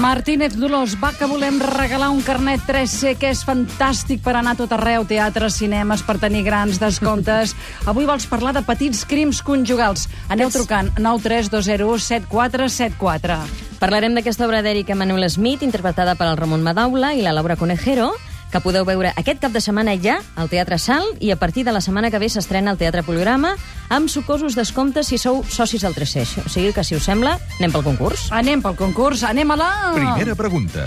Martínez Dolors, va que volem regalar un carnet 3C que és fantàstic per anar a tot arreu, teatres, cinemes, per tenir grans descomptes. Avui vols parlar de petits crims conjugals. Aneu trucant 932017474. Parlarem d'aquesta obra d'Eric Emanuel Smith, interpretada per el Ramon Madaula i la Laura Conejero, que podeu veure aquest cap de setmana ja al Teatre Sal i a partir de la setmana que ve s'estrena al Teatre Poligrama amb sucosos descomptes si sou socis del 3C. O sigui que, si us sembla, anem pel concurs. Anem pel concurs, anem a la... Primera pregunta.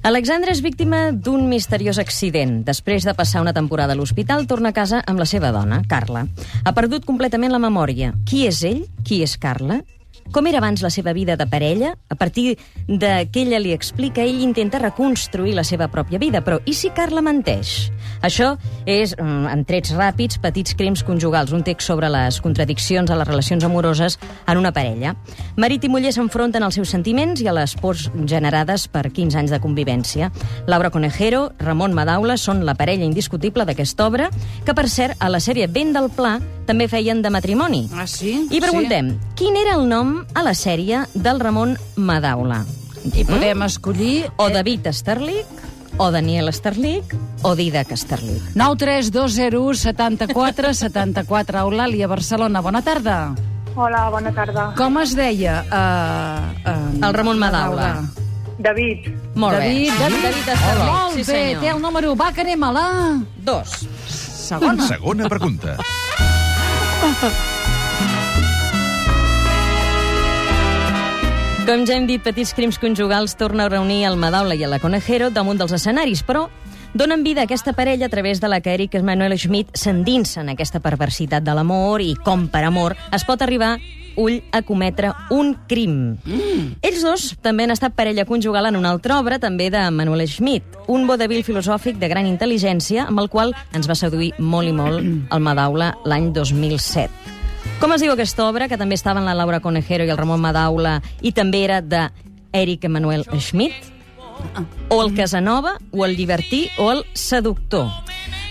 Alexandra és víctima d'un misteriós accident. Després de passar una temporada a l'hospital, torna a casa amb la seva dona, Carla. Ha perdut completament la memòria. Qui és ell? Qui és Carla? Com era abans la seva vida de parella? A partir de que ella li explica, ell intenta reconstruir la seva pròpia vida. Però i si Carla menteix? Això és, mm, en trets ràpids, petits crims conjugals, un text sobre les contradiccions a les relacions amoroses en una parella. Marit i muller s'enfronten als seus sentiments i a les pors generades per 15 anys de convivència. Laura Conejero, Ramon Madaula són la parella indiscutible d'aquesta obra, que, per cert, a la sèrie Vent del Pla també feien de matrimoni. Ah, sí? I preguntem, sí. quin era el nom a la sèrie del Ramon Madaula? Sí. I podem escollir... O David Esterlic, o Daniel Esterlic, o Didac Esterlic. 93201 74 74 Eulàlia, Barcelona. Bona tarda. Hola, bona tarda. Com es deia? Uh, uh, El Ramon Madaula. David, Molt David, bé. David, David Eh, Esterlic. Molt sí, bé, senyor. té el número. Va, que anem a la... Dos. Segona. Segona pregunta. Com Doncs ja hem dit, Petits Crims Conjugals torna a reunir el Madaula i el Conejero damunt dels escenaris, però donen vida a aquesta parella a través de la que Eric Manuel Schmidt s'endinsa en aquesta perversitat de l'amor i com per amor es pot arribar ull a cometre un crim. Mm. Ells dos també han estat parella conjugal en una altra obra, també de Manuel Schmidt, un vodevil filosòfic de gran intel·ligència amb el qual ens va seduir molt i molt el Madaula l'any 2007. Com es diu aquesta obra, que també estaven la Laura Conejero i el Ramon Madaula i també era de Eric Emanuel Schmidt? O el Casanova, o el Llibertí, o el Seductor?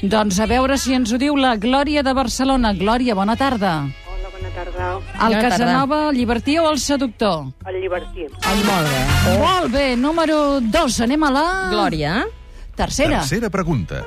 Doncs a veure si ens ho diu la Glòria de Barcelona. Glòria, bona tarda. hola, bona tarda. El Bona tarda. Casanova, el Llibertí o el Seductor? El Llibertí, El molt bé. Molt bé, número 2, anem a la... Glòria. eh? Tercera. Tercera pregunta.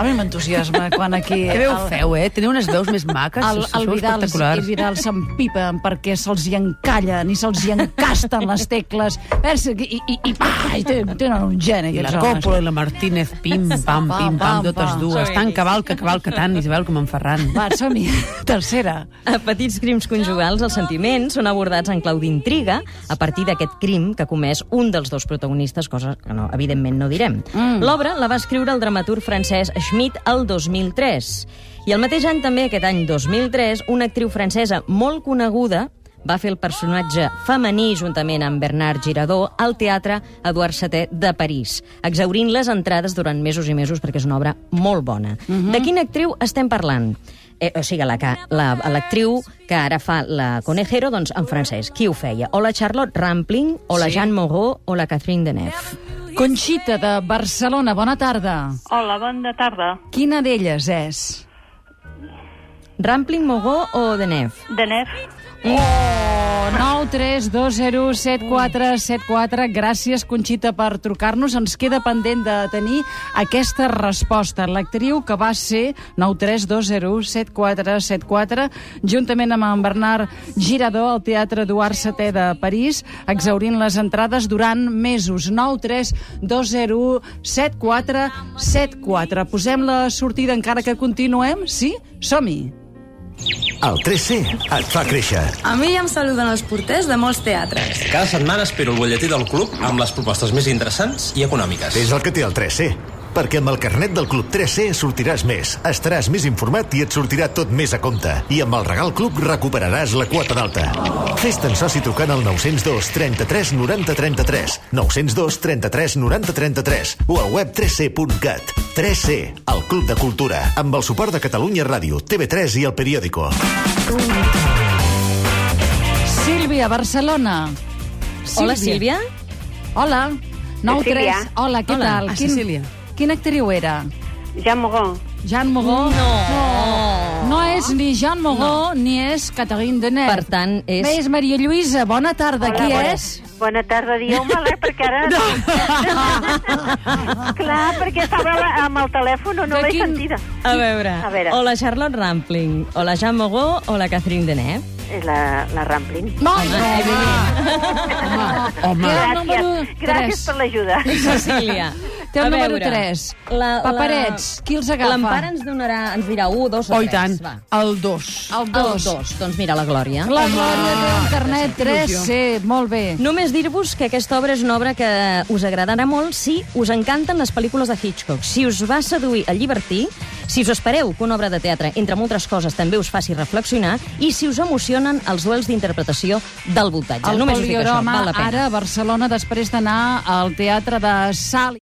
A mi m'entusiasma quan aquí... Que bé ho el- feu, eh? Teniu unes veus més maques. El, sou el Vidal i espectaculars. Vidal s'empipen perquè se'ls hi encallen i se'ls hi encasten les tecles. Vers, i, i, i, i, pa, i tenen, tenen un geni, I la aquests homes. Còpola i la Martínez, pim, pam, Pam, pam, pim, pam, totes pam. dues. Som-hi. Tant cavalca, cavalca tant, Isabel, com en Ferran. Va, som-hi. Tercera. A petits crims conjugals, els sentiments són abordats en clau d'intriga a partir d'aquest crim que ha comès un dels dos protagonistes, cosa que no, evidentment no direm. Mm. L'obra la va escriure el dramaturg francès Schmidt el 2003. I el mateix any també, aquest any 2003, una actriu francesa molt coneguda va fer el personatge femení juntament amb Bernard Girardot al Teatre Eduard VII de París, exaurint les entrades durant mesos i mesos perquè és una obra molt bona. De quina actriu estem parlant? Eh, o sigui, la que- la- l'actriu la, que ara fa la Conejero, doncs, en francès. Qui ho feia? O la Charlotte Rampling, o la sí. Jeanne Moreau, o la Catherine Deneuve. Conxita, de Barcelona, bona tarda. Hola, bona tarda. Quina d'elles és? Rampling, Moreau o Deneuve? De nef. Oh, 9 3 2 0 7 4 7 4 Gràcies, Conxita, per trucar-nos. Ens queda pendent de tenir aquesta resposta. L'actriu que va ser 9 3 2 0 7 4 7 4 juntament amb en Bernard Girador al Teatre Eduard VII de París, exaurint les entrades durant mesos. 9 3 2 0 7 4 7 4 Posem la sortida encara que continuem? Sí? Som-hi! El 3C et fa créixer. A mi ja em saluden els porters de molts teatres. Cada setmana espero el butlletí del club amb les propostes més interessants i econòmiques. És el que té el 3C. Perquè amb el carnet del Club 3C sortiràs més, estaràs més informat i et sortirà tot més a compte. I amb el Regal Club recuperaràs la quota d'alta. Fes-te'n soci trucant al 902 33 90 33, 902 33 90 33 o al web 3C.cat. 3C, el Club de Cultura, amb el suport de Catalunya Ràdio, TV3 i El Periódico. Sílvia, Barcelona. Hola, Sílvia. Hola. 9 Sílvia. 3. Hola, què Hola. tal? Ah, Cecília. Quina actriu era? Jean Mogon. Jean Mogó? No. no. No és ni Jean Mogó no. ni és Catherine Deneuve. Per tant, és- Bé, és Maria Lluïsa. Bona tarda, Hola, qui bona- és? Bona tarda, dieu mal, eh? Perquè ara... No. Clar, perquè estava la- amb el telèfon o no De l'he quin- sentida. A veure, A veure. o la Charlotte Rampling, o la Jean Mogó, o la Catherine Deneuve. És la, la Ramplin. No, no, home. Home. Té el Gràcies. número Gràcies 3. per l'ajuda. Cecília. Té el A número veure, tres. Paperets, qui els agafa? L'Empara ens donarà, ens dirà 1, 2 o 3. Oh, i tant. Va. El 2. El El 2. 2. Doncs mira, la Glòria. La Glòria té internet 3C. Molt bé. Només dir-vos que aquesta obra és una obra que us agradarà molt si us encanten les pel·lícules de Hitchcock, si us va seduir a llibertí, si us espereu que una obra de teatre, entre moltes coses, també us faci reflexionar i si us emocionen els duels d'interpretació del voltatge. El Només us dic això, poliorama, val la pena. ara a Barcelona, després d'anar al teatre de Sal